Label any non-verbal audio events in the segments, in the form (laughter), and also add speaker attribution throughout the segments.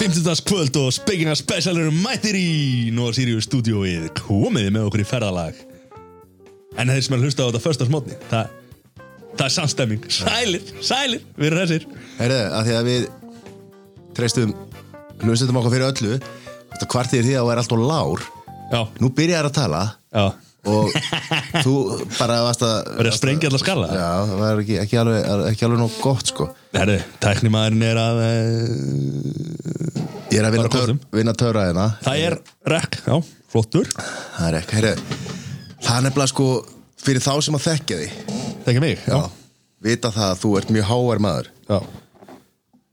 Speaker 1: Sunnudagskvöld og spekina special eru mættir í Nú er Sirius stúdíóið komiði með okkur í ferðalag En þeir sem er að hlusta á þetta första smótni það, það er samstemming Sælir, sælir, við erum þessir
Speaker 2: Herðu, að því að við treystum hlustutum okkur fyrir öllu Þetta kvartir því að það er allt og lár
Speaker 1: Já,
Speaker 2: Nú byrjar að tala
Speaker 1: já, (laughs)
Speaker 2: og þú bara varst að
Speaker 1: verður að sprengja allar skala
Speaker 2: Já, það var ekki, ekki alveg, ekki alveg nóg gott sko
Speaker 1: Herru, tæknimaðurinn er að e,
Speaker 2: Ég er að vinna,
Speaker 1: Bara
Speaker 2: tör,
Speaker 1: kostum.
Speaker 2: vinna törra hérna
Speaker 1: Það er rekk, já, flottur
Speaker 2: Það er ekki, herðu Það er nefnilega sko fyrir þá sem að þekkja því
Speaker 1: Þekkja mig, já,
Speaker 2: Vita það að þú ert mjög háar maður
Speaker 1: já.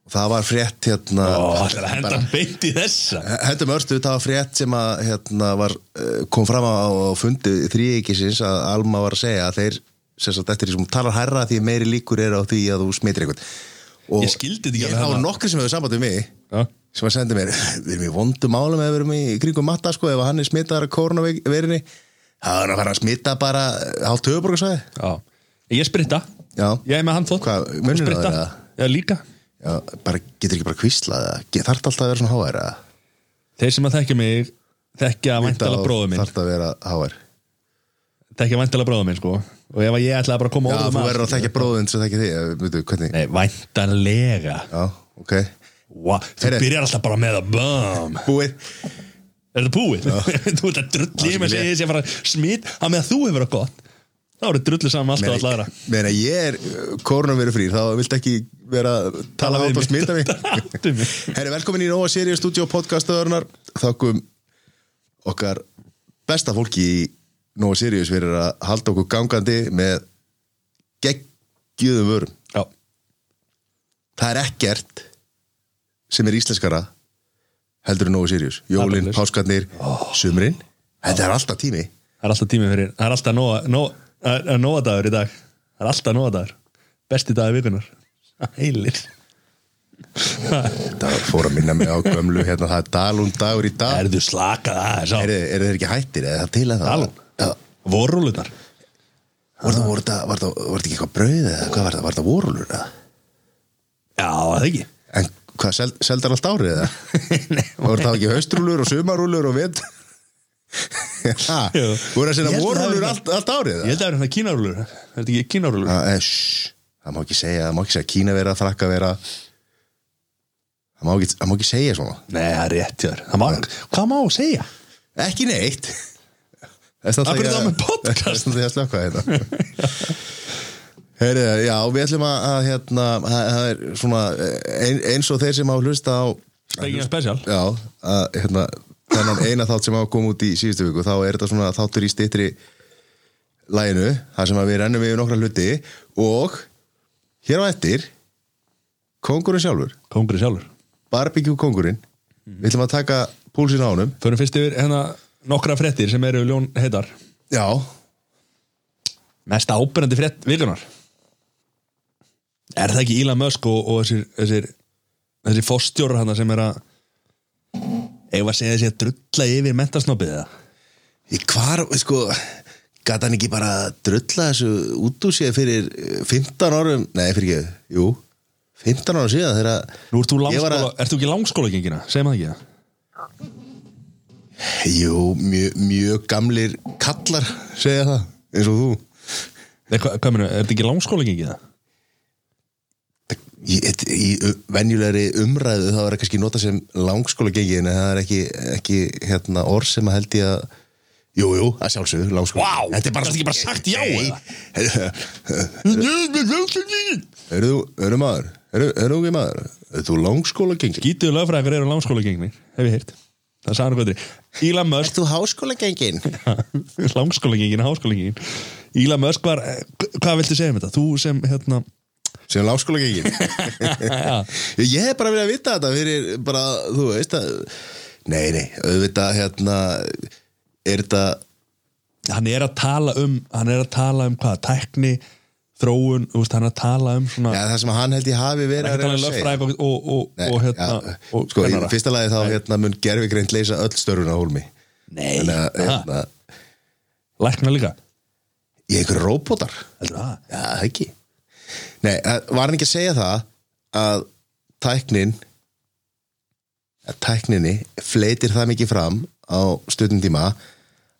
Speaker 2: Það var frétt hérna
Speaker 1: Ó, Það er að henda
Speaker 2: bara-
Speaker 1: beint í þessa
Speaker 2: Hendum örstuð, það var frétt sem að hérna, var, eh, kom fram á, á fundi þrýeikisins að Alma var að segja að þeir, sem sagt, eftir því sem hún talar hærra því meiri líkur er á því að þú smitir einhvern og
Speaker 1: Ég skildi þetta ekki
Speaker 2: ég,
Speaker 1: alveg
Speaker 2: Það var
Speaker 1: þarna.
Speaker 2: nokkri sem hefur samband við mig
Speaker 1: Já,
Speaker 2: sem að senda mér, (laughs) við erum í vondum málum eða við erum í kringum matta sko, ef hann er smitaðar af koronaveirinni það er að fara að smita bara hálft höfuborgarsvæði
Speaker 1: já Ég spritta,
Speaker 2: Já.
Speaker 1: ég er með handfótt
Speaker 2: Hvað, munnur á þér
Speaker 1: Spritta.
Speaker 2: eða?
Speaker 1: Já, líka
Speaker 2: Já, bara, getur ekki bara kvíslað þarf alltaf að vera svona háær eða?
Speaker 1: Þeir sem að þekkja mig þekkja væntala bróðu minn
Speaker 2: þarf að vera háær
Speaker 1: þekkja væntala bróðu minn sko og ef að ég ætlaði bara að koma
Speaker 2: Já,
Speaker 1: orðum
Speaker 2: þú
Speaker 1: að-
Speaker 2: verður að þekka bróðin sem þekki þig, eh, veitu, hvernig
Speaker 1: Nei, væntanlega
Speaker 2: Já, ok
Speaker 1: wow, Þú
Speaker 2: Heyrðu.
Speaker 1: byrjar alltaf bara með að bum
Speaker 2: Búið
Speaker 1: Er þetta búið? (laughs) þú ert að drulli
Speaker 2: Já,
Speaker 1: með
Speaker 2: sem
Speaker 1: segja þessi að fara smit að með að þú hefur það gott þá eru drullu saman alltaf alltaf
Speaker 2: (laughs)
Speaker 1: aðra
Speaker 2: Meina ég er koronaviru frýr Þá viltu ekki vera að tala átt og
Speaker 1: (laughs)
Speaker 2: smita mig
Speaker 1: Áttu mig.
Speaker 2: Herri, velkomin í Nóa Sirius Studio podcastöðurnar Þakkum okkar besta fólki í Nóa Sirius Fyrir að halda okkur gangandi með geggjöðum vörum
Speaker 1: Já,
Speaker 2: Það er ekkert sem er íslenskara heldur en Nóa Sirius Jólin,
Speaker 1: Alveg.
Speaker 2: páskarnir, sumrin Þetta er alltaf tími
Speaker 1: það er alltaf tími fyrir það er alltaf nóa- nó- það er nóadagur í dag það er alltaf nóadagur besti dag í vikunar Heilir
Speaker 2: Þetta fór að minna mig á gömlu hérna, það er Dalún dagur í dag
Speaker 1: Erðu slakað aðeins á
Speaker 2: Eru er þeir ekki hættir eða það til að það?
Speaker 1: Dalún?
Speaker 2: Já,
Speaker 1: Vorrúlunar
Speaker 2: var það, var það, var það, var það ekki eitthvað brauð eða hvað var það, var það vorulur eða?
Speaker 1: Já, var það ekki
Speaker 2: En hvað, sel, seldar allt
Speaker 1: (laughs)
Speaker 2: árið eða? var það ekki haustrúlur og sumarúlur og vit? Ha,
Speaker 1: Jú. Ég held
Speaker 2: voru það sinna
Speaker 1: að það
Speaker 2: vorulur
Speaker 1: hafi-
Speaker 2: allt, allt árið
Speaker 1: Ég
Speaker 2: eða?
Speaker 1: held að það eru hérna kínarúlur Er þetta ekki kínarúlur?
Speaker 2: Það er, shh, það má ekki segja, það má ekki segja Kína vera, frakka vera Það má ekki, það má ekki segja svona
Speaker 1: Nei, það er rétt hjá þér Það má- Hvað má segja?
Speaker 2: Ekki neitt Af
Speaker 1: Af hverju þá með podcast?
Speaker 2: Það er svona því að slökka þetta Heyri, já, við ætlum að, að hérna, það það er svona eh, ein, eins og þeir sem á hlusta á
Speaker 1: Spekinga special
Speaker 2: já, að, hérna, þennan eina þátt sem á kom út í síðustu viku, þá er þetta svona þáttur í styttri læginu, þar sem að við rennum yfir nokkra hluti og hér á eftir kongurinn sjálfur,
Speaker 1: Kongri sjálfur
Speaker 2: barbecue kongurinn við ætlum að taka púlsinn á honum
Speaker 1: Förum fyrst yfir hérna nokkra frettir sem eru ljón heitar
Speaker 2: já,
Speaker 1: Mest ábyrjandi frett vikunar Er það ekki Elon Musk og, og þessir, þessir þessir fórstjórar hann sem er að eigum að segja þessi að drulla yfir mentasnoppið eða?
Speaker 2: Ég hvar, sko, gæti hann ekki bara drulla þessu út úr sér fyrir eh, 15 árum, nei fyrir ekki, jú, 15 árum síðan þegar að...
Speaker 1: Nú ert þú
Speaker 2: Ég var
Speaker 1: langskóla,
Speaker 2: að-
Speaker 1: ert þú ekki langskóla gengina? Segum það ekki það?
Speaker 2: Jú, mjög mjö gamlir kallar segja það, eins og þú.
Speaker 1: Nei, hvað, hvað meina, er þetta ekki langskóla gengið það?
Speaker 2: Í, í venjulegri umræðu það var kannski nota sem langskóla gengið en það er ekki, ekki hérna, orð sem að held ég að Jú, jú, að sjálfsögðu, langskóla
Speaker 1: Vá, gast ekki bara sagt já,
Speaker 2: Eru þú, eru maður, eru þú ekki maður Eru þú langskóla gengið?
Speaker 1: Gítuðu lögfræðingar eru langskóla gengnir, hef ég heyrt Það sagði hann gotri Elon Musk,
Speaker 2: Þú háskóla gengin?
Speaker 1: (laughs) langskóla gengin, háskóla gengin Elon Musk var, eh, hvað viltu segja um þetta? Þú sem, hérna,
Speaker 2: sem lágskóla gengin
Speaker 1: (laughs)
Speaker 2: ég hef bara verið að vita þetta fyrir bara, þú veist að nei, nei, auðvitað hérna er þetta
Speaker 1: hann er að tala um Hann er að tala um hvað, tækni Þróun, þú veist, hann er að tala um svona
Speaker 2: ja, það sem hann held ég hafi verið
Speaker 1: Ekki
Speaker 2: að
Speaker 1: tala um
Speaker 2: reyna að segja
Speaker 1: lögfræðing og, og, og,
Speaker 2: Nei,
Speaker 1: og hérna
Speaker 2: já,
Speaker 1: og
Speaker 2: sko, í
Speaker 1: kennara.
Speaker 2: fyrsta lagi þá hérna mun gerfigreind leysa öll störfun á hólmi
Speaker 1: Nei,
Speaker 2: þannig að
Speaker 1: hérna.
Speaker 2: hérna,
Speaker 1: lækna líka
Speaker 2: ég einhverju róbótar
Speaker 1: Heldur það?
Speaker 2: já, það ekki eh, nei, það var hann ekki að segja það að tæknin að tækninni fleitir það mikið fram á stuttum tíma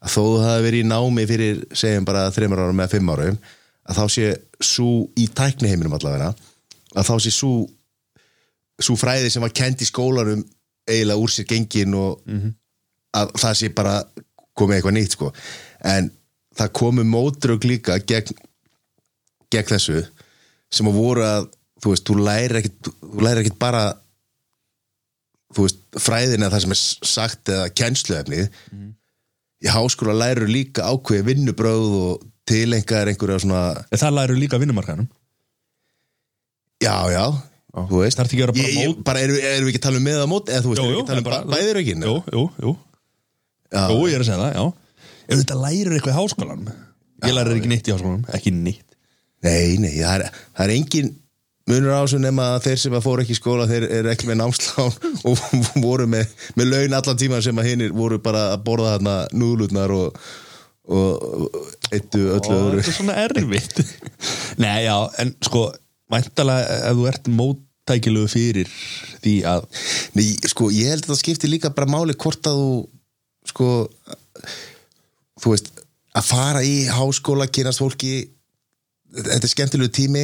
Speaker 2: að þó þú hafi verið í námi fyrir segjum bara þreymur árum eða fimm árum að þá sé svo í tækniheiminum allavega að þá sé svo svo fræði sem var kend í skólanum eiginlega úr sér gengin og að það sé bara komið eitthvað nýtt sko en það komu mótrögg líka gegn, gegn þessu sem að voru að þú veist, þú lærir ekkit, þú lærir ekkit bara þú veist, fræðina það sem er s- sagt eða kennsluefnið
Speaker 1: Mhm.
Speaker 2: í háskóla lærir líka ákveði vinnubröð og tilengar einhverja svona
Speaker 1: En það læru líka vinnumarkanum
Speaker 2: Já, já, þú veist
Speaker 1: Þarftu ekki að vera bara
Speaker 2: Ég- ég-
Speaker 1: mót-
Speaker 2: bara erum, erum við ekki að tala um með að mót eða þú veist, erum við ekki að tala um
Speaker 1: en
Speaker 2: bara, bæðir ekki
Speaker 1: Jú, jú, jú
Speaker 2: Já.
Speaker 1: Jú, ég er að segja það, já Ef þetta lærir eitthvað í háskólanum Ég lærir ekki nýtt í háskólanum, ekki nýtt
Speaker 2: Nei, nei, það er, það er engin munur á þessu nema að þeir sem að fóru ekki í skóla þeir eru ekki með námslán og voru með, með laun allan tíma sem að hinnir voru bara að borða þarna núðlutnar og, og eittu öllu
Speaker 1: Ó,
Speaker 2: öðru
Speaker 1: Þetta er svona erfitt (laughs) Nei, já, en sko Væntalega ef þú ert móttækilegu fyrir Því að
Speaker 2: Nei, sko, ég held að það skipti líka bara máli hvort að þú sko þú veist, að fara í háskóla, kynast fólki þetta er skemmtilegu tími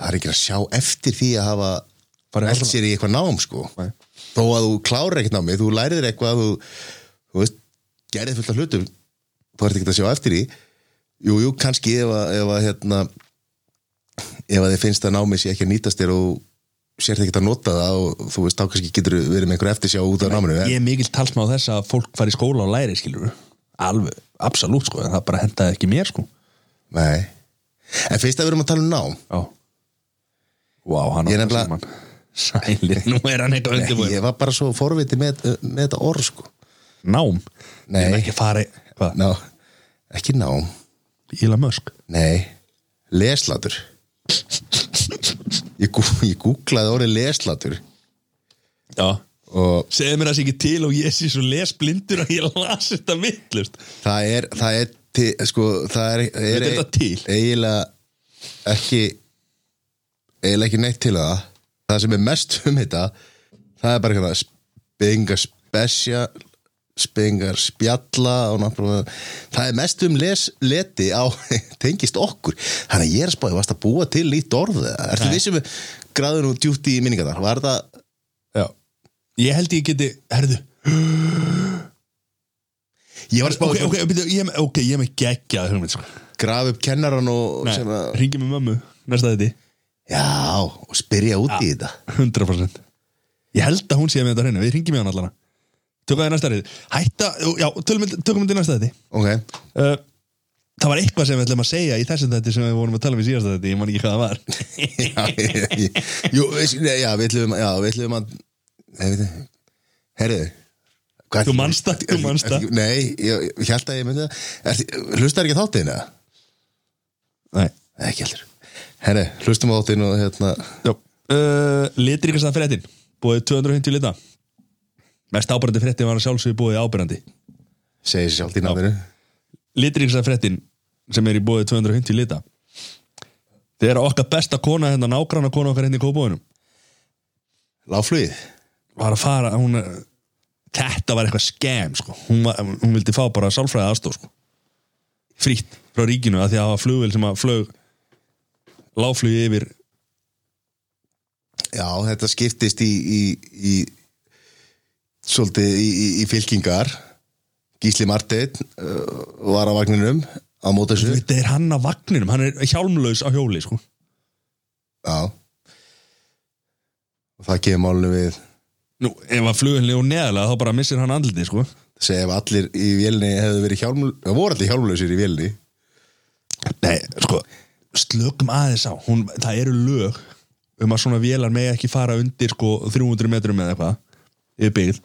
Speaker 2: það er ekki að sjá eftir því að hafa
Speaker 1: Farið
Speaker 2: eld
Speaker 1: háskóla.
Speaker 2: sér í eitthvað nám, sko
Speaker 1: Nei.
Speaker 2: þó að þú klárir ekkert námið, þú lærir eitthvað þú, þú veist, gerir fullt af hlutum þú ert ekki að sjá eftir því jú, jú, kannski ef að, ef að hérna ef að þið finnst að námið sé ekki að nýtast þér og sér þið ekki að nota það og þú veist, þá kannski getur verið með einhver eftirsjá út af náminu en,
Speaker 1: Ég er mikill talsma á þess að fólk fari í skóla og læri skilur Alveg, absolutt sko En það bara hendaði ekki mér sko
Speaker 2: Nei En fyrst að við erum að tala um nám
Speaker 1: Já Vá, hann
Speaker 2: Ég er
Speaker 1: á
Speaker 2: nefnilega-
Speaker 1: símann. Sælir, (laughs) nú er hann eitthvað undirbúin
Speaker 2: Ég var bara svo forviti með, með þetta orð sko
Speaker 1: Nám
Speaker 2: Nei.
Speaker 1: Ég er ekki að fara í- Hvað?
Speaker 2: Ná, ekki nám
Speaker 1: Íla Mösk
Speaker 2: Nei, leslatur Ég, gú, ég googlaði orðið leslatur
Speaker 1: Já
Speaker 2: og
Speaker 1: Segðu mér það sé ekki til og ég sé svo lesblindur að ég las þetta vittlust
Speaker 2: það er, það er til, sko, það er, er
Speaker 1: Er þetta til?
Speaker 2: eiginlega ekki eiginlega ekki neitt til það það sem er mest um þetta það er bara eitthvað spengar spesja spengar spjalla og náttúrulega- það er mest um les, leti á (laughs) tengist okkur þannig að ég er að spáði, varst að búa til lít orð eða? ertu
Speaker 1: Nei.
Speaker 2: vissum við gráðunum djúpt í minningarnar var það
Speaker 1: Já Ég held ég geti, herðu
Speaker 2: ég var að
Speaker 1: Ok,
Speaker 2: spáði
Speaker 1: ok, byrju, ég, er með- ok, ég er með geggjað hugmynd sko.
Speaker 2: grafa upp kennaran og
Speaker 1: Nei,
Speaker 2: sem að,
Speaker 1: Ringi með mömmu, næsta þetta
Speaker 2: já, og spyrja út í þetta
Speaker 1: 100% Ég held að hún sé með þetta hreinu, við ringjum með hann allana Tökum það í næsta þetta Hætta, já, tölum við- tökum þetta í næsta þetta
Speaker 2: ok,
Speaker 1: uh, Það var eitthvað sem við ætlum að segja í þessum þetta sem við vorum að tala um í síðasta þetta, ég man ekki hvað það var
Speaker 2: já, ég- ég- jú, veist- nei, já, við ætlum já, við ætlum að nei, við- herðu hvað-
Speaker 1: Þú manst það, þú manst það.
Speaker 2: nei, ég, ég held að ég myndi það Ertu- hlustar ekki á þáttinn eða?
Speaker 1: Nei,
Speaker 2: Nei, ekki heldur herðu, hlustum á þáttinn og hérna
Speaker 1: já uh, Litrikasta fréttin, búið 250 lita Mest ábærandi fréttin var að sjálfsögðu búið ábærandi
Speaker 2: segir sér sjálft í náminu
Speaker 1: litríksa fréttin sem er í bóði 250 lita þegar okkar besta kona hérna nágranna kona okkar hérna í kópóðunum
Speaker 2: láflugið
Speaker 1: var að fara hún, eh, þetta var eitthvað skem sko. hún, var, hún vildi fá bara sálfræði aðstof sko. frýtt frá ríkinu að því að það var flugvél sem að flög láflugi yfir
Speaker 2: já, þetta skiptist í, í, í svolítið í, í, í fylkingar Gísli Marteinn uh, var á vagninum á móta
Speaker 1: Þú
Speaker 2: sér
Speaker 1: veit, þetta er hann á vagninum, hann er hjálmlaus á hjóli sko.
Speaker 2: já og það kemur málunum við
Speaker 1: Nú, ef að flugvélinni og neðalega þá bara missir hann andliti sko.
Speaker 2: segja ef allir í vélni hefðu verið hjálmul það voru allir hjálmlausir í vélni
Speaker 1: Nei, sko, slökum aðeins á hún, Það eru lög um að svona vélar megi ekki fara undir sko 300 metrum eða eitthvað yfir byggð,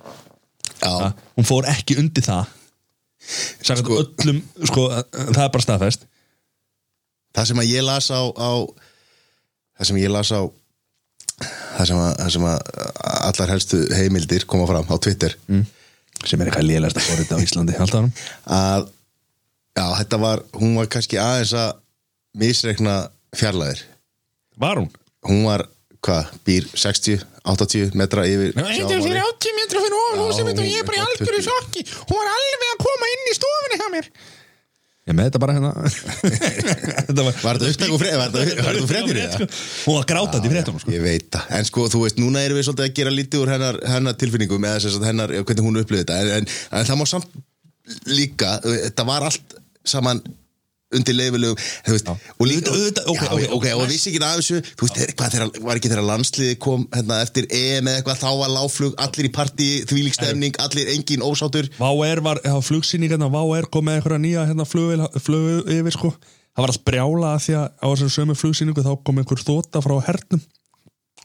Speaker 2: já,
Speaker 1: hún fór ekki undir það Sagt
Speaker 2: Sko-
Speaker 1: öllum, sko, það er bara staðfest
Speaker 2: það sem að ég las á, á það sem ég las á það sem að, það sem að allar helstu heimildir koma fram á Twitter
Speaker 1: sem er eitthvað lélægsta fórið á Íslandi alltaf hann
Speaker 2: að já, þetta var, hún var kannski aðeins að misreikna fjarlæðir
Speaker 1: Var hún?
Speaker 2: hún var hvað, býr 60, 80 metra yfir
Speaker 3: Það heitir
Speaker 2: sjávarmáli.
Speaker 3: fyrir 80 metra fyrir ofan
Speaker 2: Já,
Speaker 3: húsið mitt og ég er bara í
Speaker 2: eitthvað
Speaker 3: algjöru
Speaker 2: 20.
Speaker 3: sjokki Hún var alveg að koma inn í stofunni hjá mér
Speaker 1: Ég með þetta bara (laughs) hérna Þetta var
Speaker 2: Var þetta upptæk og frétt? Var þetta- var þetta fréttir í það?
Speaker 1: Hún var grátandi í fréttunum sko.
Speaker 2: Ég veit það, en sko þú veist, núna erum við svolítið að gera lítið úr hennar, hennar tilfinningum eða sem sagt hennar, hvernig hún upplifði þetta en, en, en það má samt líka þetta var allt saman undir leifilegum þú veist, og líka,
Speaker 1: Auðvitað- auðvitað, ok,
Speaker 2: já,
Speaker 1: ok, ok.
Speaker 2: og vissi ekki af þessu, þú veist, þeir- hvað þeirra var ekki þeirra landsliði kom hérna eftir EM eða eitthvað, þá var láflug, allir í partí þvílíkstemning, allir engin ósátur
Speaker 1: Váer var, það var flugsýning hérna Váer kom með einhverja nýja hérna flugvél flug yfir sko Það var allt brjála af því að á þessum sömu flugsýningu þá kom einhver þóta frá hernum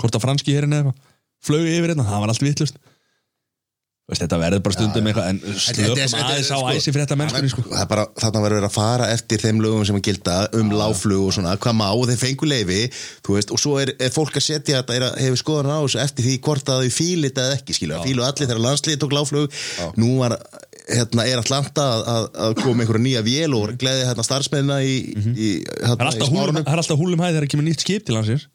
Speaker 1: Hvort að franski herin eða eitthvað flög yfir hérna, það var allt vitlust Veist, þetta verður bara stundum eitthvað en slökum aðeins á æsi fyrir þetta mennskunni sko.
Speaker 2: sko, það er bara þarna verður að fara eftir þeim lögum sem að gilda um láflug og svona hvað má og þeir fengu leifi þú veist, og svo er, er fólk að setja þetta er að hefur skoðan á þessu eftir því hvort að þau fíli þetta eða ekki skilja, fílu allir þegar landsliði tók láflug nú var hérna er Atlanta að, að, að koma einhverja nýja vél og gleði hérna starfsmennina í, í,
Speaker 1: Það er
Speaker 2: hérna,
Speaker 1: Mhm. alltaf
Speaker 2: í
Speaker 1: húlum,
Speaker 2: smárunum.
Speaker 1: það er alltaf húlum hæð þegar það kemur nýtt skip til hansins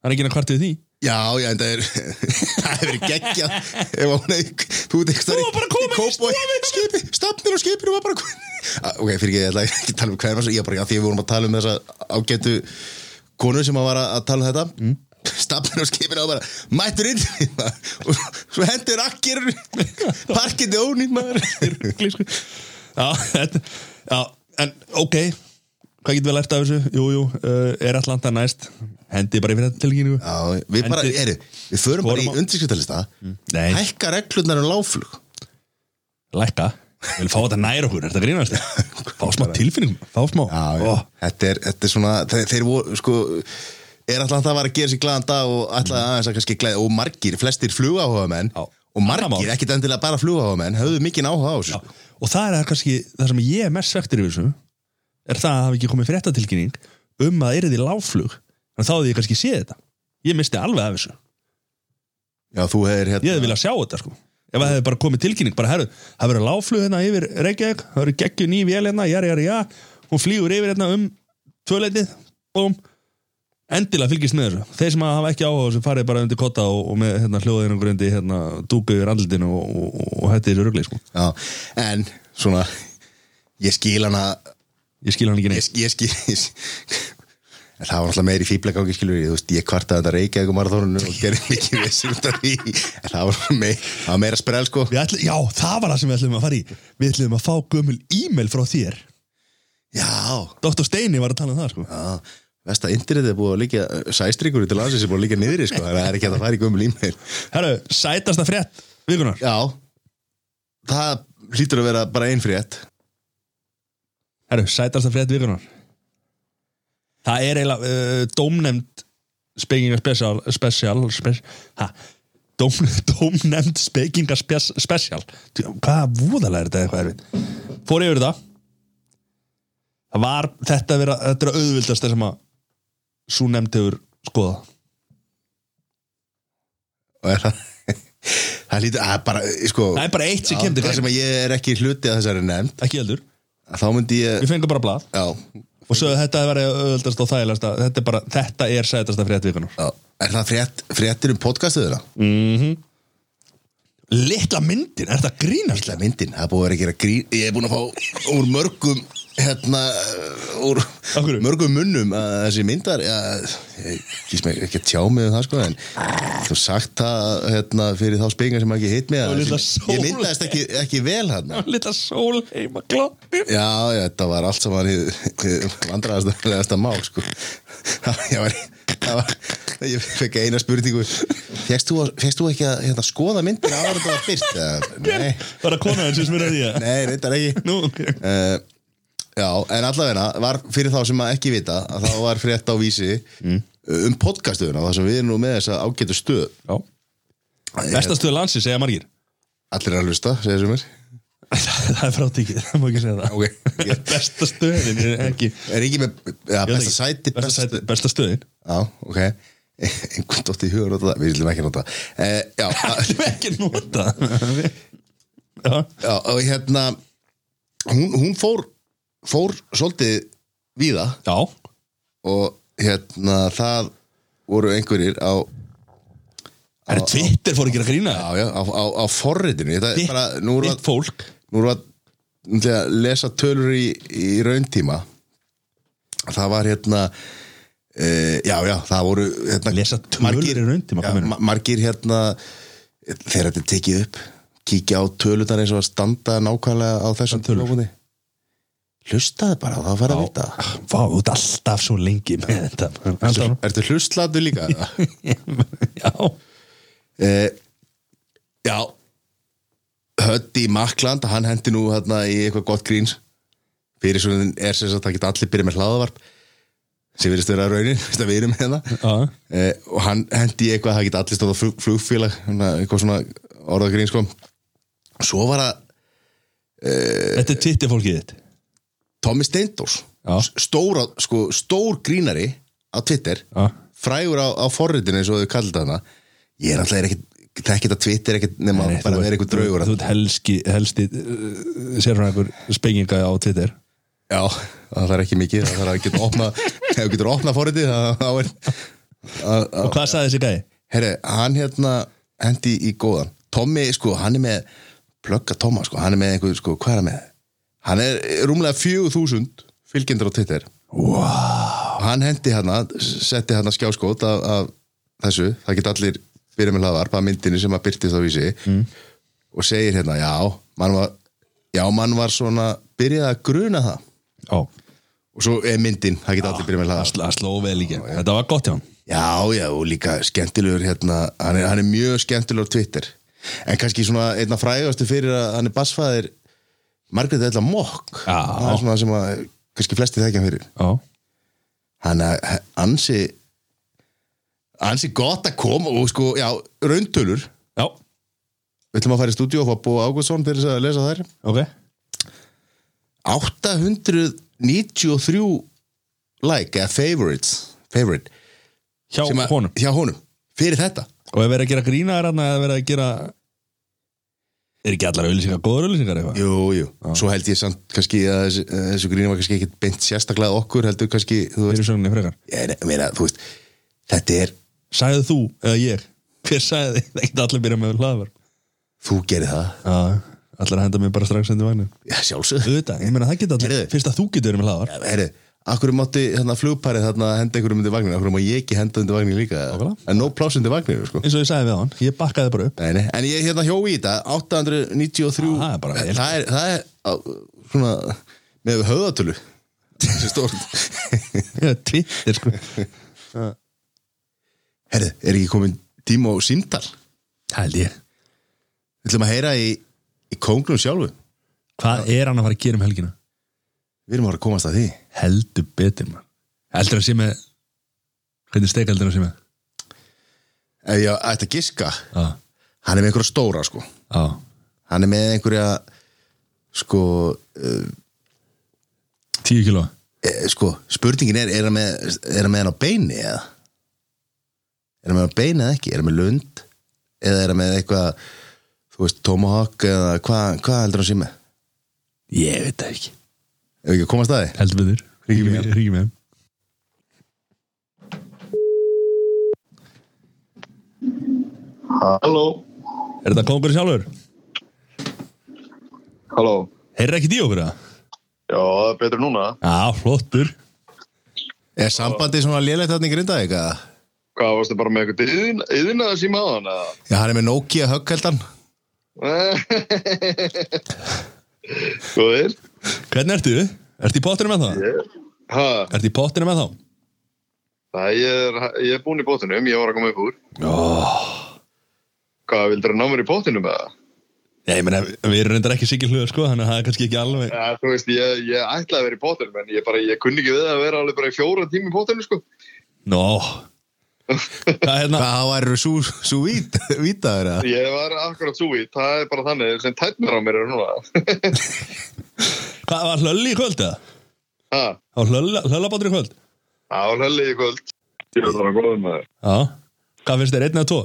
Speaker 1: Það er ekki enn að kvartið því
Speaker 2: Já, já, en það er (laughs) það hefur verið geggjað ef hún hefði, þú veit ekki
Speaker 1: Þú var bara komin í
Speaker 2: stofið skipi, stofnir og skipinu var bara komin Ah, ok, fyrir ekki, ég ætla ekki að tala um hverjum ég er bara, já, því við vorum að tala um þessa ágætu konu sem að var að að tala um þetta mm. stafnir og skipinu og bara mættur inn og svo hendur akkir parkindi ónýtt maður
Speaker 1: Ruggli, sko. já, þetta, já, en ok Hvað getum við lært af þessu? Jú, jú, uh, er Atlanta næst Hendi bara í fyrir þetta tilkynningu
Speaker 2: Já, við bara,
Speaker 1: Hendi- Mm.
Speaker 2: eru, við förum bara
Speaker 1: Fórum
Speaker 2: í
Speaker 1: á-
Speaker 2: undirskriftalista
Speaker 1: Nei.
Speaker 2: hækka reglurnar um láflug
Speaker 1: Lækka, við viljum fá þetta nær okkur Er þetta grínast? Fá smá tilfinningum Fá smá Oh.
Speaker 2: Já, já.
Speaker 1: Ó,
Speaker 2: Þetta, er, þetta er svona, þeir, þeir voru, sko, er alltaf að var að gera sér glæðan dag og alltaf aðeins að kannski glæða, og margir, flestir flugáhugamenn,
Speaker 1: Mm. Já.
Speaker 2: og
Speaker 1: Annað
Speaker 2: margir,
Speaker 1: mál.
Speaker 2: ekkit endilega bara flugáhugamenn, höfðu mikinn áhuga á þessu. sko.
Speaker 1: Og það er það kannski það sem ég er mest svektur yfir þessu Er það að hafa ekki komið fréttatilkynning Um að yrði láflug En þá hefði ég kannski séð þetta Ég misti alveg af þessu
Speaker 2: Já, þú hefur
Speaker 1: Ég hefði
Speaker 2: hérna,
Speaker 1: viljað sjá þetta sko Ef það hefði bara komið tilkynning bara herru Það verður láflug hérna yfir Reykjavík Það verður geggju ný vél hérna Jari, jari, já Hún flýgur yfir hérna um Tvöleitið Bóm Endilega fylgist með þessu Þeir sem hafa ekki áhuga á þessu farið bara undir kotta og, og með hérna, hljóðinu grundi hérna dúka yfir andlutinu og, og, og, og hætti þessu rugli sko
Speaker 2: já, en svona, ég skil hana,
Speaker 1: Ég skil hann ekki
Speaker 2: ég,
Speaker 1: neitt
Speaker 2: ég skil, (laughs) ég, en það var alltaf meiri fíblagangi, skilur ég, þú veist, ég kvartaði þetta reykja eitthvað marathónunum og gerði mikið vissum út af því, en það var, meir, það var meira sprel, sko.
Speaker 1: Við ætlum, já, það var það sem við ætlum að fara í Við ætlum að fá gömul e-mail frá þér
Speaker 2: Já,
Speaker 1: Dr. Steini var að tala um það sko
Speaker 2: Já, vest að internetið er búið að líka sæstrykur til landsins er búið að líka niðri sko, þannig að það er ekki hægt að fara í gömul e-mail
Speaker 1: Herru, sætasta frétt vikunar
Speaker 2: Já, það hlýtur að vera bara einn frétt
Speaker 1: Herru, sætasta frétt vikunar Það er eiginlega uh, dómnefnd spekinga spesial, spesial spes, ha, dóm, (laughs) dómnefnd spekinga spes, spesial Djú, Hvað voðalega er þetta eitthvað erfið Fór yfir þetta Það var þetta að vera, þetta er að auðvildast sem að svo nefnd hefur skoða
Speaker 2: og er það (laughs) það hlýtur að bara, sko
Speaker 1: Það er bara eitt sem kemdi
Speaker 2: það sem að ég er ekki hluti að þessari nefnd
Speaker 1: Ekki heldur,
Speaker 2: þá myndi ég,
Speaker 1: við fengum bara blað
Speaker 2: já,
Speaker 1: og sögðu þetta að vera auðvöldast og þægilegasta þetta er bara, þetta er sætasta frétt vikunar
Speaker 2: já er það frétt, fréttir um podcastuðuna?
Speaker 1: litla myndin, er þetta grínast
Speaker 2: Ítla myndin, það er búið að vera að gera grín ég er búin að fá úr mörgum hérna, úr
Speaker 1: Af hverju?
Speaker 2: mörgum munnum að þessi myndar ja, ég kýst mig ekki að tjá mig um það sko en þú sagt það hérna, fyrir þá spengar sem ekki hitt mig
Speaker 1: Og
Speaker 2: að
Speaker 1: litla
Speaker 2: þessi-
Speaker 1: sól.
Speaker 2: ég myndaðist ekki, ekki vel hann já,
Speaker 1: (laughs) litla sól heima glóttir
Speaker 2: já, þetta var allt saman hið- hið vandræðasta mál sko það ég var, það var ég fekk eina spurningu fegst þú, fegst þú ekki að hérna, skoða myndin áður en þetta var fyrst? Ja, nei,
Speaker 1: bara konaðin sem smyrði því að
Speaker 2: nei, reyndar ekki
Speaker 1: (laughs) nú, ok
Speaker 2: uh, Já, en allavegna var fyrir þá sem að ekki vita að þá var frétt á vísi
Speaker 1: Mm.
Speaker 2: um podcastuðuna, þar sem við erum nú með þessa ágætu stöð
Speaker 1: já vestastöðu landsins, segja margir
Speaker 2: Allir er að hlusta, segir sem er
Speaker 1: það er frátíkið, það má ekki segja það
Speaker 2: okay.
Speaker 1: bestastöðin er ekki
Speaker 2: Er ekki með, ja, besta sæti
Speaker 1: besta
Speaker 2: besta-
Speaker 1: sæti, besta (laughs) stöðin
Speaker 2: Já, ok (laughs) Einhvern dótt í hugur á það, við viljum ekki nota það. eh, Já, (laughs) að-
Speaker 1: allir ekki nota já,
Speaker 2: já, og hérna Hún, hún fór, fór svolítið víða
Speaker 1: já,
Speaker 2: og hérna það voru einhverjir á,
Speaker 1: Er Twitter fór ekki að grína
Speaker 2: á,
Speaker 1: það?
Speaker 2: já, á, á, á forritinu Þetta er
Speaker 1: Þitt,
Speaker 2: bara, nú erum
Speaker 1: þitt fólk
Speaker 2: nú erum við að náttúrulega lesa tölur í, í rauntíma það var hérna e, já, já, það voru hérna,
Speaker 1: Lesa tölur í rauntíma, hvað
Speaker 2: já,
Speaker 1: meinarðu?
Speaker 2: ma- margir hérna þegar þetta er tekið upp kíkja á tölunar eins og að standa nákvæmlega á þessum
Speaker 1: tölur?
Speaker 2: tölur hlustaði bara, það var að vita
Speaker 1: Vá, þú ert alltaf svo lengi með þetta Alltaf
Speaker 2: Ertu hlustlaðu líka?
Speaker 1: Já,
Speaker 2: e, já Höddi Makland, hann hendi nú hérna í eitthvað gott gríns fyrir svo er sem sagt að geta allir byrja með hlaðavarp sem virðist vera raunin, (laughs) veist að við erum með það
Speaker 1: já,
Speaker 2: Eh, og hann hendi í eitthvað að það geta allir stóð á flug, flugfélag svona, eitthvað svona orðagrín sko. svo var það
Speaker 1: þetta er Twitter fólkið þitt
Speaker 2: Tommy Steindors
Speaker 1: Já.
Speaker 2: stóra, sko, stór grínari á Twitter
Speaker 1: Já.
Speaker 2: frægur á, á forritinu eins og þau kallir það hana. ég er alltaf ekki þekkit að Twitter ekkit nema
Speaker 1: Nei, þú
Speaker 2: bara að vera
Speaker 1: ert-
Speaker 2: eitthvað draugur
Speaker 1: Þú ert helski, helsti uh, sérfræðingur spenginga á Twitter
Speaker 2: Já, það er ekki mikið það þarf að geta opna ef þú getur opna forritið þá- þá er að- að-
Speaker 1: Og hvað sagði þessi gæði?
Speaker 2: Herri, hann hérna hendi í góðan Tommy, sko, hann er með plugga Tomma, sko, hann er með einhver, sko, hvað er hann með hann er rúmlega 4000 fylgjendur á Twitter wow. hann hendi hérna setti hérna skjáskót af, af þessu, það geta allir byrja með hlaðvarp að myndinu sem að byrtist á vísi mm. og segir hérna, já mann var, já, mann var svona byrjað að gruna það
Speaker 1: Ó,
Speaker 2: og svo er myndin, það geta allir byrjað með
Speaker 1: það
Speaker 2: hlaðvarp
Speaker 1: sl- það sló vel í gegn Þetta var gott hjá hann
Speaker 2: Já, já, og líka skemmtilegur hérna, hann er, hann er mjög skemmtilegur á Twitter En kannski svona einna frægastu fyrir að hann er bassfæðir Margrét Ella Mokk
Speaker 1: Já.
Speaker 2: Það er svona sem að kannski flesti þekkja hann fyrir
Speaker 1: Já,
Speaker 2: Hann er ansi, ansi gott að koma og sko, já, raundölur
Speaker 1: já,
Speaker 2: Við ætlum að fara í stúdíu og fá Bó Ágússon fyrir þess að lesa þær
Speaker 1: ok
Speaker 2: 893 like, eða favorites, favorite
Speaker 1: Hjá
Speaker 2: sem að-
Speaker 1: honum
Speaker 2: Hjá honum, fyrir þetta
Speaker 1: Og er verið að gera grína er hann eða verið að gera Er ekki allar auðlýsingar, góður auðlýsingar eitthvað?
Speaker 2: Jú, jú, svo held ég samt kannski að þessu, að þessu gríni var kannski ekkit beint sérstaklega að okkur heldur kannski, þú veist,
Speaker 1: Fyrir sögninni frekar
Speaker 2: ég, meina, þú veist þetta er,
Speaker 1: Sæðu þú eða ég? Hver sæði þið? Ekkert allir byrja með hlaðvarp
Speaker 2: þú gerir það
Speaker 1: Já, allir að henda mér bara strax hendur vagnir
Speaker 2: Já, sjálfsögðu
Speaker 1: Auðvitað, ég meina það geta allir
Speaker 2: Heyrðu.
Speaker 1: Fyrst að þú getur verið með hlaðvarp
Speaker 2: Herri, akkur mátti hérna flugparið þarna henda einhverjum undir vagnin, akkur má ég ekki henda undir vagnin líka
Speaker 1: Nákvæmlega.
Speaker 2: en no pláss undir vagnin, sko
Speaker 1: Eins og ég sagði við hann, ég bakkaði bara upp
Speaker 2: Nei, nei. En ég hérna hjó í þetta 893
Speaker 1: Ah, það er bara vel.
Speaker 2: það er, það er á, svona með höfðatölu sem stórt (laughs)
Speaker 1: Twitter sko
Speaker 2: Herri, er ekki komin tíma á síndal?
Speaker 1: Held ég
Speaker 2: Við ætlum að heyra í, í kóngnum sjálfu
Speaker 1: Hvað er hann að fara að gera um helgina?
Speaker 2: Við erum að fara að komast að því
Speaker 1: Heldur betur mann Heldur hann sé með Hvernig steik heldur hann sé með?
Speaker 2: Ef ég ætti að giska
Speaker 1: Já,
Speaker 2: Hann er með einhverja stóra sko
Speaker 1: já
Speaker 2: Hann er með einhverja Sko, uh,
Speaker 1: Tíu kíló
Speaker 2: eh, sko Spurningin er, er hann með, er hann, með hann á beini eða? Er hann með hann á beini eða ekki? Er hann með lund? Eða er hann með eitthvað Þú veist, Tomahawk eða hvað hva heldur hann sé með?
Speaker 1: Ég veit það ekki
Speaker 2: Ef ekki að komast að því
Speaker 1: Heldur betur
Speaker 2: Hringjum í hann.
Speaker 1: Ríkjum ég
Speaker 4: Halló,
Speaker 1: Er þetta kongur sjálfur?
Speaker 4: halló.
Speaker 1: Heyrðu ekki í okkur það?
Speaker 4: Já, það er betur núna.
Speaker 1: Já, flottur
Speaker 2: Er sambandið svona lélegt þarna í grinda eitthvað?
Speaker 4: Hvað varstu bara með eitthvað yðin, yðinaða síma á hana? (laughs)
Speaker 2: Já, hann er með Nokia högg held hann
Speaker 4: Góðir?
Speaker 1: Hvernig ertu? Ertu í pottinu með það?
Speaker 4: Ha,
Speaker 1: Ertu í pottinu með þá?
Speaker 4: það ég er, ég er búinn í bóttinum, ég var að koma upp úr.
Speaker 1: Oh.
Speaker 4: Hvað, vildur að ná mér í bóttinum með það?
Speaker 1: Ég meina, við erum reyndar ekki sikil hluga sko Þannig að það er kannski ekki alveg
Speaker 4: Ja, þú veist, ég, ég ætlaði að vera í bóttinum, en ég bara, ég kunni ekki við að vera alveg bara í fjóra tíma í bóttinum, sko.
Speaker 1: Nó Hvað er hérna?
Speaker 2: Hvað var sú, sú vít, vítaður að?
Speaker 4: Ég var akkurat svo í, það er bara þannig sem tætnir á mér er núna. (laughs)
Speaker 1: Hvað var hlölli í kvöld eða?
Speaker 4: ha,
Speaker 1: Á hlöllabátur í kvöld?
Speaker 4: það var helli í kvöld. Ég var bara góðum með það.
Speaker 1: Já Hvað finnst þér, einn eða tvo?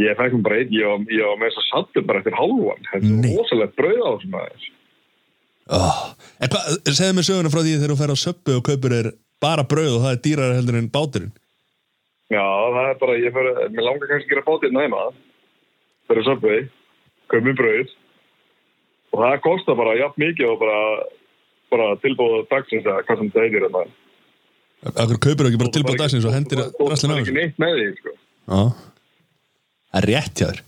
Speaker 4: Ég fekk um bara einn, ég var, ég var með þess að sattu bara eftir hálfan. Þetta
Speaker 1: Nei.
Speaker 4: er rosalegt brauð á þessum aðeins.
Speaker 1: Oh. En hvað, segðu mér söguna frá því þegar þú fer á söppu og kaupir þér bara brauð og það er dýrar heldur en báturinn
Speaker 4: Já, það er bara, ég fyrir, mér langar kannski að gera bátinn heima. Fyrir söpvei, kömmin brauð. Og það kostar bara jafn mikið og bara, bara tilbúða dagsins að hvað sem það heitir hérna. þetta.
Speaker 1: Akkur kaupir ekki bara tilbúið dagsins og hendir
Speaker 4: drastlinn
Speaker 1: drastlinn
Speaker 4: af
Speaker 1: af
Speaker 4: þessu. Það er ekki neitt með því, sko.
Speaker 1: Já Það er rétt hjá þér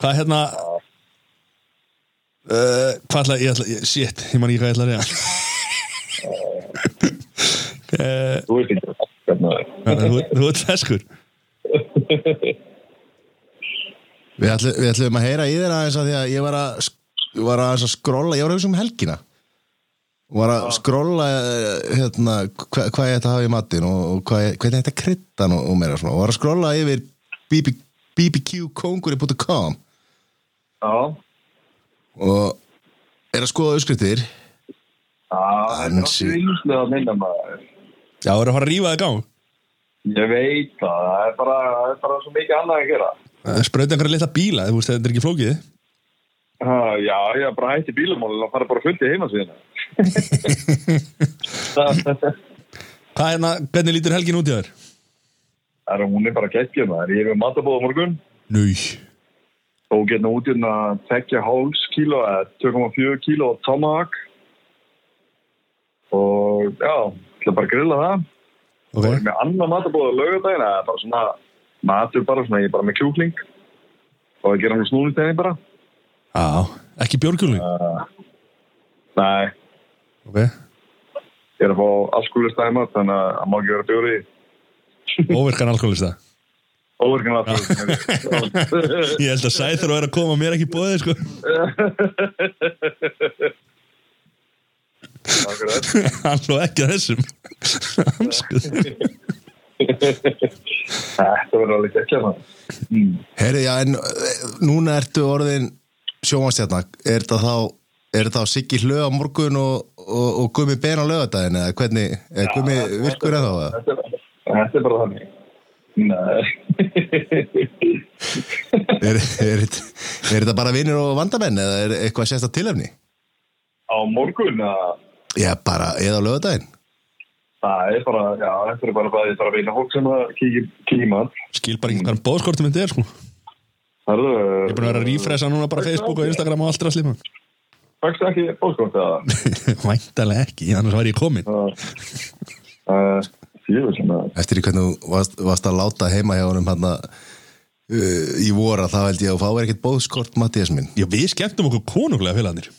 Speaker 1: Hvað hérna uh, Hvað ætla ég ætla ég, Shit, ég man ekki hvað ég ætla að reyna uh,
Speaker 4: Þú veist ekki hvernig það er. hérna.
Speaker 1: þú, þú ert feskur
Speaker 2: Við, ætlu, við ætlum að heyra í þér aðeins að því að ég var að, sk- var aðeins að skrolla, ég var að hugsa um helgina og var að skrolla eh, hérna, hva, hvað ég ætti að hafa í matinn og, og hvað, ég- hvernig ég ætti að kryddan og, og meira svona, og var að skrolla yfir BB, bbqkonguri.com
Speaker 4: Já,
Speaker 2: og er að skoða uppskriftir
Speaker 4: já, það er
Speaker 2: Ansi.
Speaker 4: náttúrulega ínslega að minna maður.
Speaker 1: Já, þú eru að fara að rífa þig gang
Speaker 4: Ég veit það, það er bara, það er bara svo mikið annað að gera.
Speaker 1: Sprauti einhverja litla bíla, þú veist, þetta er ekki flókið
Speaker 4: Ha, já, ég er bara hætti bílamálinn og fara bara fullt í heimasíðina. það
Speaker 1: Hvað hérna, hvernig lítur helgin út í þér?
Speaker 4: það er hún er bara geggjum það. er- Ég er með matabóð á morgun
Speaker 1: Nú,
Speaker 4: og getna út hérna tekja háls kíló eða 2,4 kíló tomahawk og já, ætla bara að grilla það.
Speaker 1: ok
Speaker 4: Ég er með annað matabóð á laugardaginn, það er bara svona matur bara svona, ég er bara með kjúkling og ég gera hann snúnintegni bara.
Speaker 1: Já, ekki björgjúling
Speaker 4: Nei,
Speaker 1: Ok,
Speaker 4: ég er að fá allskúlega stæma þannig að það má ekki vera bjóri í.
Speaker 1: óvirkan alkoholista
Speaker 4: Óverkanlega
Speaker 1: Ég held að sæður og er að koma mér ekki bóðið, sko (laughs) Hann hló ekki að þessum Hanskuð
Speaker 4: Þetta verður alveg ekki að
Speaker 2: Herri, já, en eh, núna ertu orðin sjómanstjarna, er þetta þá er þetta þá Siggi Hlöð á morgun og, og, og Gumi Ben á lögadaginn eða hvernig, eða Gumi virkur eða þá eða?
Speaker 4: Þetta er- þetta er bara þannig Nei (laughs)
Speaker 2: er, er, þetta- er þetta bara vinnir og vandamenn eða er eitthvað sérsta tilefni?
Speaker 4: Á morgun að
Speaker 2: Já, bara, eða á lögadaginn
Speaker 4: Það er bara, já, þetta er bara bæðið bara vinna fólk sem að kíkja í mat
Speaker 1: Skil bara ekki hvaðan bóðskortum þetta er, sko Ég
Speaker 4: Það eru
Speaker 1: er búin að vera að rífresa núna bara Facebook og Instagram og allt ræsli
Speaker 4: Fækst ekki bóðskort
Speaker 1: (laughs)
Speaker 4: eða
Speaker 1: Væntalega ekki, annars væri ég komin
Speaker 4: Fjöfur sem að
Speaker 2: Eftir í hvernig þú varst, varst að láta heima hjá honum hann að uh, í vora þá held ég að fá er ekkert bóðskort Mattias minn
Speaker 1: Já, við skemmtum okkur konunglega félagarnir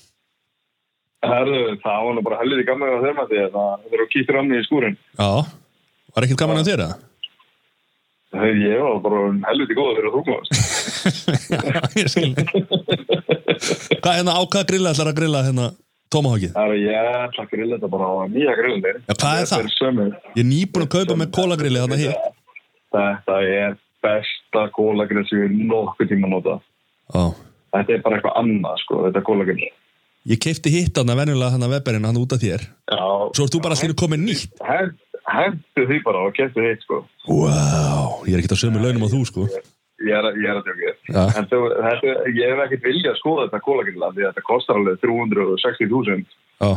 Speaker 4: Herðu, það var nú bara helviti gamlega þegar maður því að það eru að kíkja rann í skúrin
Speaker 1: Já, var ekkert gaman að þér að?
Speaker 4: Ég var bara helviti góða fyrir að þú komast
Speaker 1: Já, (laughs) ég skil Hvað hérna, á hvað grilla ætlar að grilla hérna Tomahawkið?
Speaker 4: Það er að ég ætla að grilla þetta bara á nýja grillin þér
Speaker 1: Já, hvað er það? Ég er nýbúin að kaupa með kólagrilli þarna hér
Speaker 4: Þetta er besta kólagrill sem ég nokkuð tíma nota.
Speaker 1: Já
Speaker 4: Þetta er bara eitthvað annað, sko, þetta kólagrill.
Speaker 1: Ég keipti hitt hann að venjulega hann að webberinn hann út af þér
Speaker 4: Já,
Speaker 1: Svo ert þú bara allir komið nýtt
Speaker 4: hendu því bara og kæftu hitt, sko.
Speaker 1: Vá, wow, ég er ekkert á sömu launum á þú sko
Speaker 4: Ég er, ég er að tjókið.
Speaker 1: Já.
Speaker 4: En þú, þetta, ég hef ekkert viljað að skoða þetta kólagrill, því að þetta kostar alveg 360.000
Speaker 1: Já,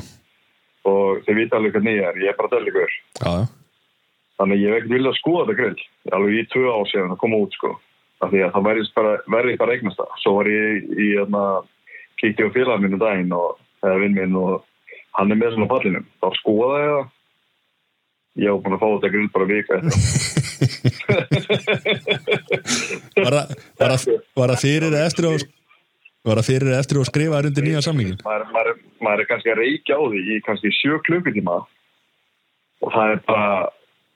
Speaker 4: og þau vita alveg hvernig ég er, ég er bara
Speaker 1: já,
Speaker 4: döllikur.
Speaker 1: já
Speaker 4: Þannig að ég hef ekkert viljað að skoða þetta grill, alveg í tvö ár síðan að koma út, sko. Af því að það verði bara, verði bara eignast það. Svo var ég í, hérna, kíkti á félag minn um daginn og, eða vinn minn og hann er með svona á pallinum. Þá skoða ég það. Ég hef búin að fá þetta grill bara vika eftir.
Speaker 1: Var það- var það- var það fyrir eða eftir að Var það fyrir eða eftir að skrifa þér undir nýja samlingin?
Speaker 4: Maður, maður, maður er kannski að reykja á því í kannski sjö klukkutíma og það er bara,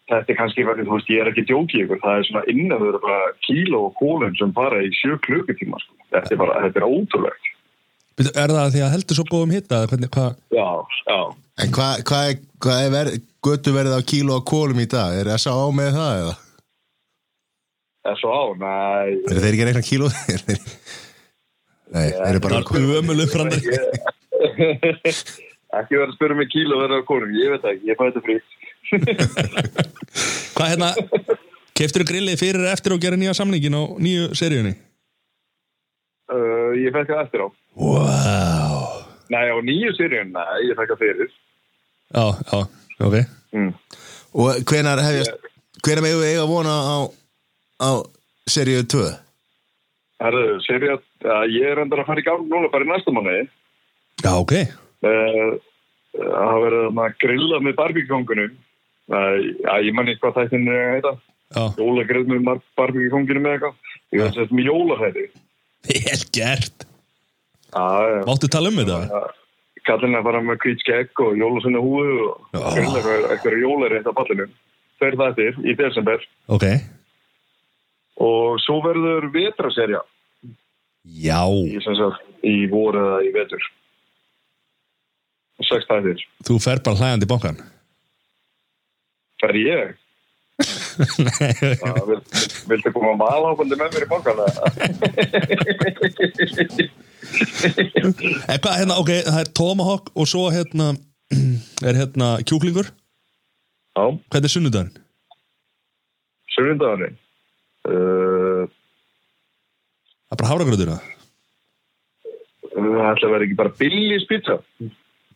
Speaker 4: þetta er kannski, þú veist, ég er ekki að djóki ykkur, það er svona innan þau eru bara kíló og kólum sem fara í sjö klukkutíma, sko. Þetta er bara, þetta er ótrúlegt.
Speaker 1: Bíddu, Er það því að heldur svo góðum hitta? eða Hvernig, hvað?
Speaker 4: Já, já.
Speaker 2: En hvað hva, hva er verið, götu verið á kíló á kólum í dag? Er S.A. með það eða?
Speaker 4: S.A. Nei,
Speaker 2: Er þeir ekki að reikna kíló? (laughs) Er þeir- Nei, þeir eru bara
Speaker 1: Það er ömuleg frandar
Speaker 4: ekki verið að spyrja mig kíl og verið á konum. Ég veit það ekki, ég fæ þetta frýtt.
Speaker 1: Hvað hérna, keftur þú grillið fyrir eða eftir að gera nýja samlingin á nýju seríunni?
Speaker 4: Uh, ég fekk það eftir á.
Speaker 1: Wow
Speaker 4: Nei, á nýju sirjun, nei, ég fekk það fyrir.
Speaker 1: Já, já, ok
Speaker 4: Mm.
Speaker 2: Og hvenar hefjast Hvernig megum við eiga að vona á, á seríu 2?
Speaker 4: Herðu, sér ég að að ég er endur að fara í gang núna bara í næsta manni.
Speaker 1: Já, ok
Speaker 4: Uh, það hafa verið þarna grillað með barbíkjóngunum. Uh, ég man ekki hvað þættin er að heita.
Speaker 1: Já,
Speaker 4: Jólagrill með barbíkjóngunum eða eitthvað. Ég veist þetta með jólahæði.
Speaker 1: vel gert
Speaker 4: Já, já.
Speaker 1: Máttu tala um þetta?
Speaker 4: kallin að fara með kvít skegg og jólasunni húðu og
Speaker 1: Já.
Speaker 4: grilla eitthvað- eitthvað jólarétt á ballinum. Þeir þættir í desember
Speaker 1: Ok
Speaker 4: og svo verður vetraserja
Speaker 1: Já,
Speaker 4: í, sem sagt, í voru eða í vetur. Og sex þættir.
Speaker 1: þú fer bara hlægandi í (laughs) bankan
Speaker 4: Fer ég? Já, vil, viltu koma malhápandi með mér í bankan?
Speaker 1: (laughs) En hvað, hérna, ok, það er Tomahawk og svo hérna (clears throat) er hérna kjúklingur
Speaker 4: Já,
Speaker 1: Hvernig er sunnudagurinn?
Speaker 4: sunnundagurinn. Uh,
Speaker 1: Það er bara háragröður það?
Speaker 4: það ætla að vera ekki bara billis pizza.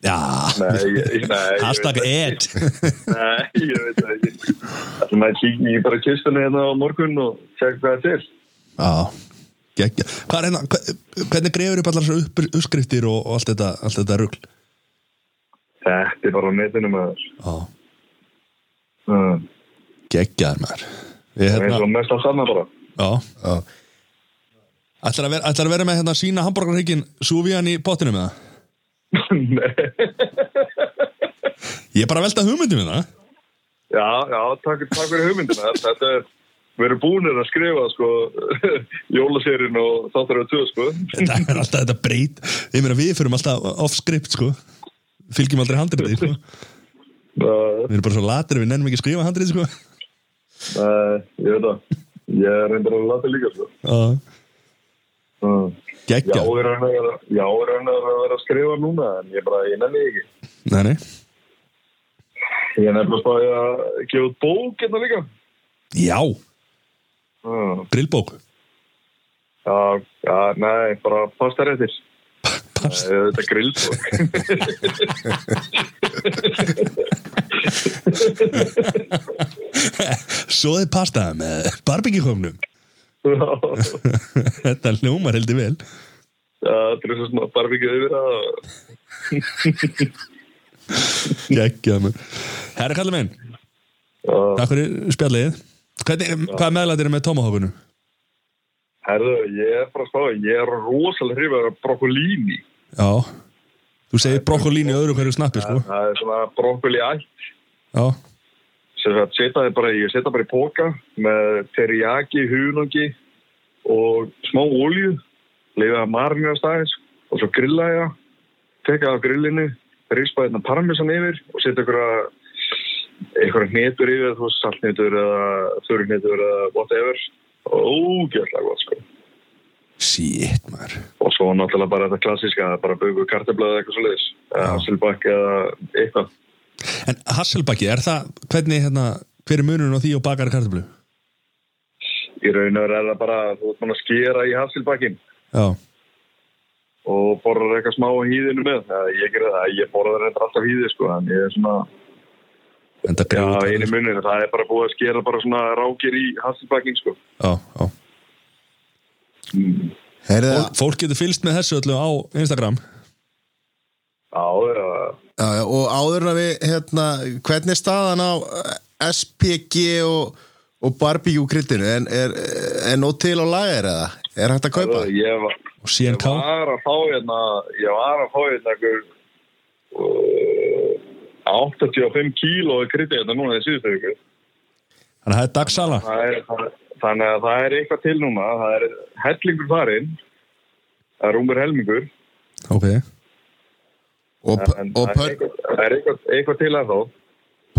Speaker 1: Já,
Speaker 4: Nei, ég- nei, ég
Speaker 1: hashtag
Speaker 4: veit það
Speaker 1: ed
Speaker 4: Nei, ég veit það ekki. Það er maður kíkja í bara kistunni hérna á morgun og segja hvað það er til.
Speaker 1: (laughs) Já, geggja Hvað er hérna, hve- hvernig grefur upp allar þessar upp- uppskriftir og, og allt þetta, allt þetta rugl?
Speaker 4: Þetta er bara á netinu maður.
Speaker 1: Já,
Speaker 4: Mm.
Speaker 1: geggjaður maður Ég
Speaker 4: Það er
Speaker 1: hérna,
Speaker 4: svo mest að sanna bara. (laughs)
Speaker 1: já
Speaker 2: Já.
Speaker 1: Ætlar að, vera, ætlar að vera með hérna sína hambúrgarhyggjin Súvían í pottinum með það? Ég er bara að velta hugmyndum hérna
Speaker 4: já, já, takk, takk fyrir hugmyndina. Þetta er, við erum búinir að skrifa sko (laughs) jólaserinn og þáttur á tjóð sko.
Speaker 1: Þetta er alltaf þetta breyt Ég meina við förum alltaf off script sko Fylgjum aldrei handriði sko
Speaker 4: Uh,
Speaker 1: Við erum bara svo latir við nennum ekki að skrifa handriði sko
Speaker 4: uh, ég veit það. Ég er reyndar að lata líka sko.
Speaker 1: Já,
Speaker 4: Mm. Já,
Speaker 1: Geggjað
Speaker 4: ég er reyndar að, já, ég er reyndar að vera að skrifa núna en ég bara, ég nenni því ekki.
Speaker 1: Nei, nei
Speaker 4: Ég er nefnilega spáði að gefa út bók hérna líka.
Speaker 1: Já,
Speaker 4: Mm.
Speaker 1: grillbók
Speaker 4: Já, já, nei, bara pasta réttir. Eh,
Speaker 1: Past,
Speaker 4: Þetta er grillbók. (laughs)
Speaker 1: Svoðið pasta með barbekjumhöfnum (laughs) Þetta hljómar heldur vel
Speaker 4: Það er svo svona barbíkið yfir að...
Speaker 1: Geggjað maður Herra kallar minn,
Speaker 4: Já,
Speaker 1: takk fyrir spjallið Hvernig, Hvað meðlætir er með tomahawkunum?
Speaker 4: herðu, ég er bara að spáði, ég er rosalega hrifið af brokkolíni.
Speaker 1: Já Þú segir brokkolín í öðru hverju snappi sko
Speaker 4: Það er svona brokkoli ætt.
Speaker 1: Já,
Speaker 4: Sem sagt, setja þið bara, ég setja bara í póka með teriyaki, hunungi og smá olju. Leifið að marina stæðis og svo grilla ég það. Tekka það af grillinu, rispa þetta parmesan yfir og setja ykkur að eitthvað hnetur yfir, þú veist, saltnetur eða þurrnetur eða whatever ógjörlega gott sko
Speaker 1: shit maður
Speaker 4: og svo náttúrulega bara þetta klassíska bara bugu kartablaði eitthvað svo leiðis Hasselbach eða eitthvað
Speaker 1: En Hasselbaki, er það, hvernig hérna, hver er munurinn á því og bakar kartablu?
Speaker 4: í raun og veru er það bara þú ert mann að skera í Hasselbachin
Speaker 1: Já,
Speaker 4: og borðar eitthvað smá á hýðinu með það, ég, gerði það, ég borðar þetta alltaf hýði sko en ég er svona
Speaker 1: en það
Speaker 4: já,
Speaker 1: grjóta
Speaker 4: einu munir, það er bara búið að skera bara svona rákir í Hasselbachin sko
Speaker 1: Já, já
Speaker 4: Mm.
Speaker 2: Herðu,
Speaker 1: Fólk- Fólk getur fylgst með þessu öllu á Instagram
Speaker 4: já, já,
Speaker 2: já, já, og áður en að við, hérna, hvernig er staðan á eh, SPG og, og barbecue kryddinu? En er, er nót til á lager eða? Er hægt að kaupa?
Speaker 4: það, ég var
Speaker 1: og CNK
Speaker 4: Ég var að fá hérna ég var að fá hérna einhver uh, 85 kíló í krytti hérna núna í síðustu viku
Speaker 1: Þannig að það er dagsala
Speaker 4: Það er- það- þannig að það er eitthvað til núna það er hellingur farinn það er rúmur helmingur
Speaker 1: Ok
Speaker 2: Og,
Speaker 4: en
Speaker 2: pö- og
Speaker 4: það er
Speaker 2: pön,
Speaker 4: eitthvað, það er eitthvað, eitthvað til að þá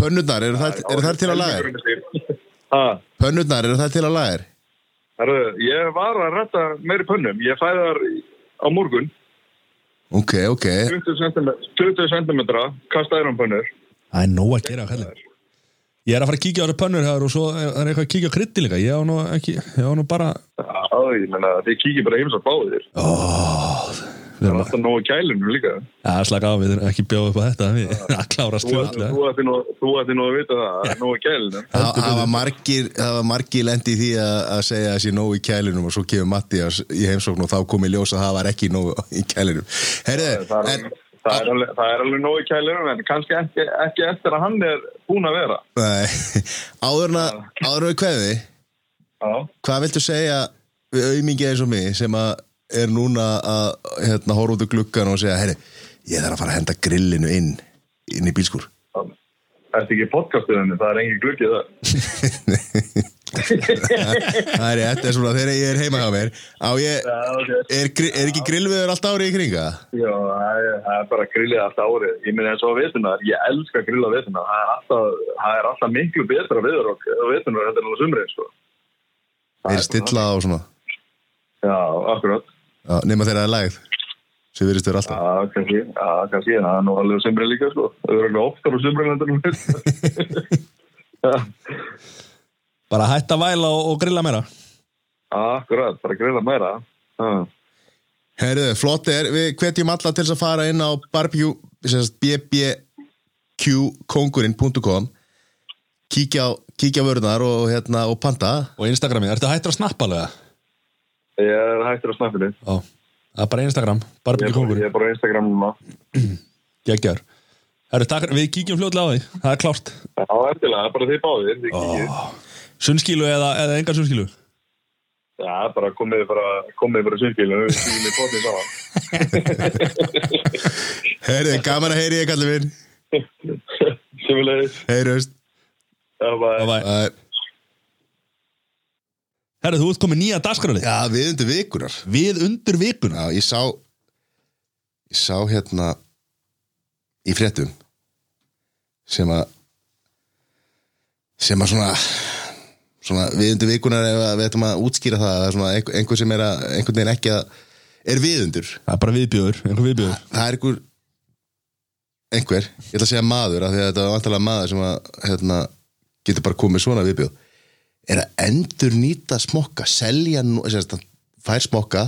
Speaker 2: pönnurnar, eru þær, eru þær til á lager?
Speaker 4: Ha,
Speaker 2: Pönnurnar, eru þær til á lager?
Speaker 4: herru, ég var að retta meiri pönnum ég fæði þar á morgun
Speaker 2: Ok, ok.
Speaker 4: 20 cm, 20 cm kastaði um pönnur
Speaker 1: Það er nóg að gera kallar Ég er að fara að kíkja á þessu pönnur hér og svo er það er eitthvað að kíkja á krytti líka Ég á nú ekki, ég á nú bara
Speaker 4: Já, ég menna, þið kíkir bara heims að báðir
Speaker 1: Ó, Við
Speaker 4: Það er
Speaker 1: erum að
Speaker 4: alltaf nógu gælinu líka.
Speaker 1: ja, slaka á, við erum ekki bjóð upp á þetta Við að klárast
Speaker 4: Þú,
Speaker 1: fljóðlega
Speaker 4: þú ætti nú, þú ætti nú að vita það, það er nógu gælinu.
Speaker 2: Það hafa margir, hafa margir lendi í því að, að segja þessi nóg í kælinum og svo kemur Mattias í heimsókn og þá kom í ljós að það var ekki nóg í kælinum. Herðu,
Speaker 4: Það er,
Speaker 2: en,
Speaker 4: það er, alveg, það er alveg nógu gælinu, en kannski ekki, ekki eftir að hann er búin að vera.
Speaker 2: nei, (laughs) áður en að- áður en við kveði,
Speaker 4: Já.
Speaker 2: hvað viltu segja við aumingi eins og mig sem að er núna að hérna, horfa út úr gluggan og segja, herri, ég þarf að fara að henda grillinu inn, inn í bílskur.
Speaker 4: Það er ekki podcastuðinni, það er engin gluggið það.
Speaker 2: það er rétt, þetta er svona þegar ég er heima hjá mér, á ég,
Speaker 4: Já, ok.
Speaker 2: er, gri- er ekki grillviður allt árið í kringa?
Speaker 4: Já, það er- það er bara grillið allt árið. Ég minna eins og að vetunar, ég elska að grilla vetunar. Það er alltaf, það er alltaf miklu betra viður og vetunar heldur en á sumrið, sko.
Speaker 2: Þeir stilla á svona,
Speaker 4: Já, akkurat.
Speaker 2: já, nema þegar það er lægð, sem virðist þér alltaf.
Speaker 4: Já, kannski, já, kannski, en það er nú alveg á sumrið líka, sko. Það eru alveg oftar á sumrið heldur en á
Speaker 2: (laughs)
Speaker 4: vetunar. Já,
Speaker 1: Bara hætta að væla og, og grilla meira
Speaker 4: akkurat, bara grilla meira. Já.
Speaker 2: Herðu, flott er, við hvetjum alla til þess að fara inn á barbecue, sem sagt, bbqkongurinn.com kíkja á, kíkja á vörunar og, hérna, og panta
Speaker 1: Og Instagrami, ertu hættur að snappa alveg? það?
Speaker 4: Ég er hættur á snappinu.
Speaker 1: Já, það er bara Instagram, bara
Speaker 4: Ég,
Speaker 1: byrja
Speaker 4: er-
Speaker 1: kongur
Speaker 4: ég er bara á Instagram núna.
Speaker 1: Gekkjör Herru, takk, við kíkjum fljóðlega á því, það er klárt
Speaker 4: Já, eftirlega, bara þið báðir, þið kikið.
Speaker 1: Sunnskilu eða, eða engan sunnskilu
Speaker 4: Já, bara komið bara, komið bara sundbílinu, við skilum í potið saman.
Speaker 2: Herðu, gaman að heyri ég kallið minn
Speaker 4: Sjöfulegis.
Speaker 2: Heyrust
Speaker 4: Já, bara.
Speaker 1: Bye bye
Speaker 2: Æ,
Speaker 1: Herru, þú ert komið nýja dagskrálið
Speaker 2: Já, við undir vikunar
Speaker 1: Við undur vikuna
Speaker 2: Já, ég sá ég sá hérna í fréttum sem að sem að svona svona við undir vikunar ef að við ættum að útskýra það það er svona einhver, einhver sem er að einhvern veginn ekki að er viðundur
Speaker 1: Það er bara viðbjöður, einhver viðbjöður
Speaker 2: það er einhver einhver, ég ætla að segja maður af því að þetta er vantalega maður sem að hérna, getur bara komið svona viðbjóð er að endur nýta smokka selja, nú- sem sagt, hann fær smokka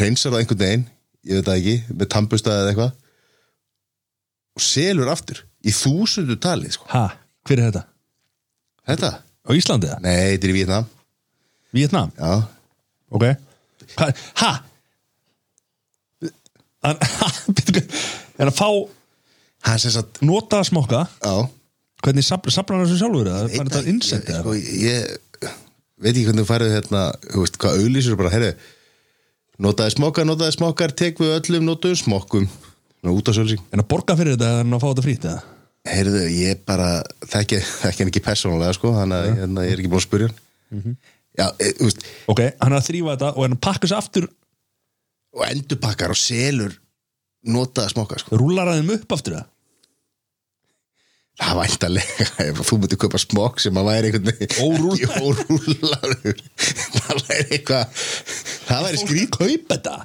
Speaker 2: reynsar það einhvern veginn ég veit það ekki, með tampusta eða eitthvað og selur aftur í þúsundu talið sko.
Speaker 1: Ha, hver er þetta?
Speaker 2: þetta,
Speaker 1: Á Íslandi það?
Speaker 2: nei, þetta er í Vietnam
Speaker 1: Vietnam?
Speaker 2: já,
Speaker 1: Ok Ha? ha? Hann, (laughs) ha, byrju, er að fá
Speaker 2: hann sem sagt,
Speaker 1: nota smokka
Speaker 2: já
Speaker 1: Hvernig safn- safnar hann þessu sjálfur? eða? Það er þetta
Speaker 2: Ég-
Speaker 1: innsett eða?
Speaker 2: sko, ég veit ekki hvernig þú færðu hérna þú veist, hvað auðlýsur bara, herri notaði smokkar, notaði smokkar, tek við öllum notaðu smokkum, Nú, út af sölsing
Speaker 1: En að borga fyrir þetta er hann að fá þetta frýtt eða?
Speaker 2: heyrðu, ég bara þekki, þekki hann ekki persónulega, sko þannig að hérna, ég er ekki búin að spurja hann já, e, þú veist,
Speaker 1: Ok, hann er að þrýfa þetta og hann pakka þessu aftur
Speaker 2: og endurpakkar og selur notaði smokkar, sko
Speaker 1: Rúlar hann þeim upp aftur það?
Speaker 2: það var eitthvað (laughs) lega, þú myndi köpa smokk sem að væri einhvern veginn (laughs)
Speaker 1: Órúllaður.
Speaker 2: ekki órúllaður það væri eitthvað það væri skrít,
Speaker 1: kaupa þetta?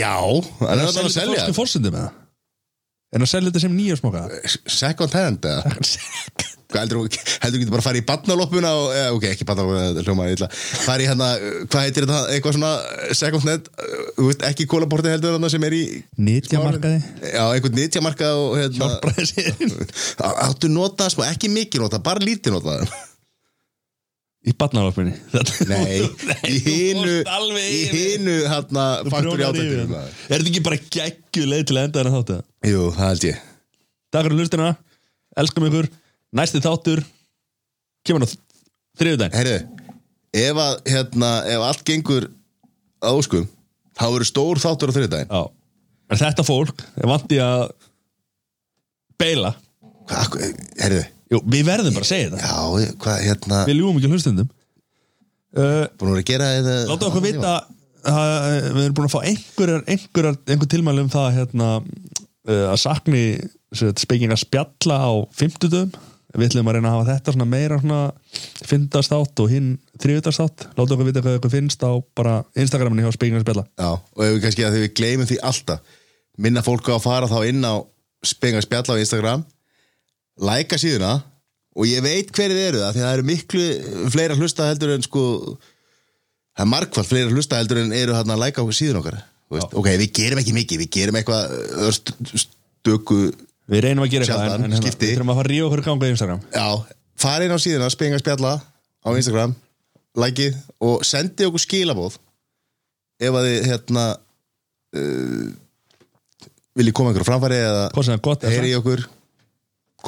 Speaker 2: já, hann er að selja þetta.
Speaker 1: Fólkstum fórsendum eða? En að selja þetta sem nýja smokka?
Speaker 2: (laughs) second hand eða? Hvað heldur þú heldur þú getur bara að fara í badnaloppuna og, eða, ok, ekki badnaloppuna, hljóma ég illa fara í hérna, hvað heitir þetta, eitthvað svona eh, second hand, eh, þú veist, ekki kólaporti heldur þarna sem er í
Speaker 1: Nýtjamarkaði?
Speaker 2: já, einhvern nýtjamarka og hérna,
Speaker 1: Hjálpraðisinn
Speaker 2: á- áttu nota smá, ekki mikið nota, bara lítið nota
Speaker 1: Í barnalopinni
Speaker 2: (laughs)
Speaker 1: (laughs)
Speaker 2: nei, í hinu í
Speaker 1: hinu
Speaker 2: hinu, hérna, faktur í átættunum
Speaker 1: Er þetta ekki bara geggju leið til að enda þennan þáttu?
Speaker 2: jú, það held ég
Speaker 1: Takk fyrir hlustina, elskum ykkur Næsti þáttur Kemur á þriðudaginn
Speaker 2: Herru, ef að, hérna, ef allt gengur að óskum, þá verður stór þáttur á þriðdæðin
Speaker 1: Já En þetta fólk er vandi að Beila
Speaker 2: Herru,
Speaker 1: Jú, við verðum bara að segja þetta
Speaker 2: já, ég- hvað, hérna
Speaker 1: Við ljúum ekki hlustendum uh,
Speaker 2: Búin að vera að gera þetta
Speaker 1: Láta okkur vita að við erum búin að fá einhverjar, einhverjar einhver tilmæli um það hérna, uh, að sakni speking að spjalla á fimmtudum við ætlum að reyna að hafa þetta svona meira svona fyndast átt og hinn þriðutast átt, láta okkur vita hvað okkur finnst á bara Instagraminu hjá speking að spjalla
Speaker 2: Já, og ef við kannski að því við gleymum því alltaf Minna fólk á að fara þá inn á Spengar spjall á Instagram Læka síðuna Og ég veit hverju þið eru það Því að það eru miklu fleira hlusta heldur en sko Það er margfald fleira hlusta heldur en eru hérna að læka síðun okkar Þú veist, ok, við gerum ekki mikið, við gerum eitthvað ö, st- stöku
Speaker 1: Við reynum að gera eitthvað
Speaker 2: Sjaldan,
Speaker 1: en, en hérna,
Speaker 2: skipti.
Speaker 1: Við þurfum að fara að ríða okkur ganga í Instagram
Speaker 2: já, farið á síðuna, spenga spjalla á Instagram, likeið og sendi okkur skilabóð ef að þið hérna uh, viljið koma einhverju framfæri eða
Speaker 1: Hvort sem það er gott eða
Speaker 2: heyri í okkur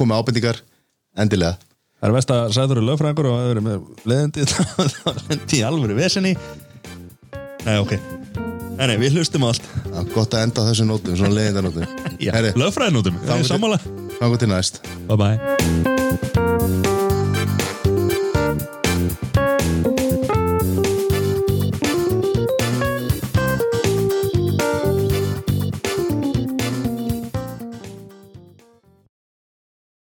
Speaker 2: koma ábendingar, endilega
Speaker 1: Það er best að sæður eru lögfræðingur og það eru með (laughs) leðindi þá lendi í alvöru vesinni Nei, ok Nei, nei, við hlustum á allt
Speaker 2: Já, gott að enda á þessum nótum, svona (laughs) leiðindarnótum
Speaker 1: Lögfræðinútum, það er
Speaker 2: til-
Speaker 1: sammála
Speaker 2: Þannig til næst
Speaker 1: Bye bye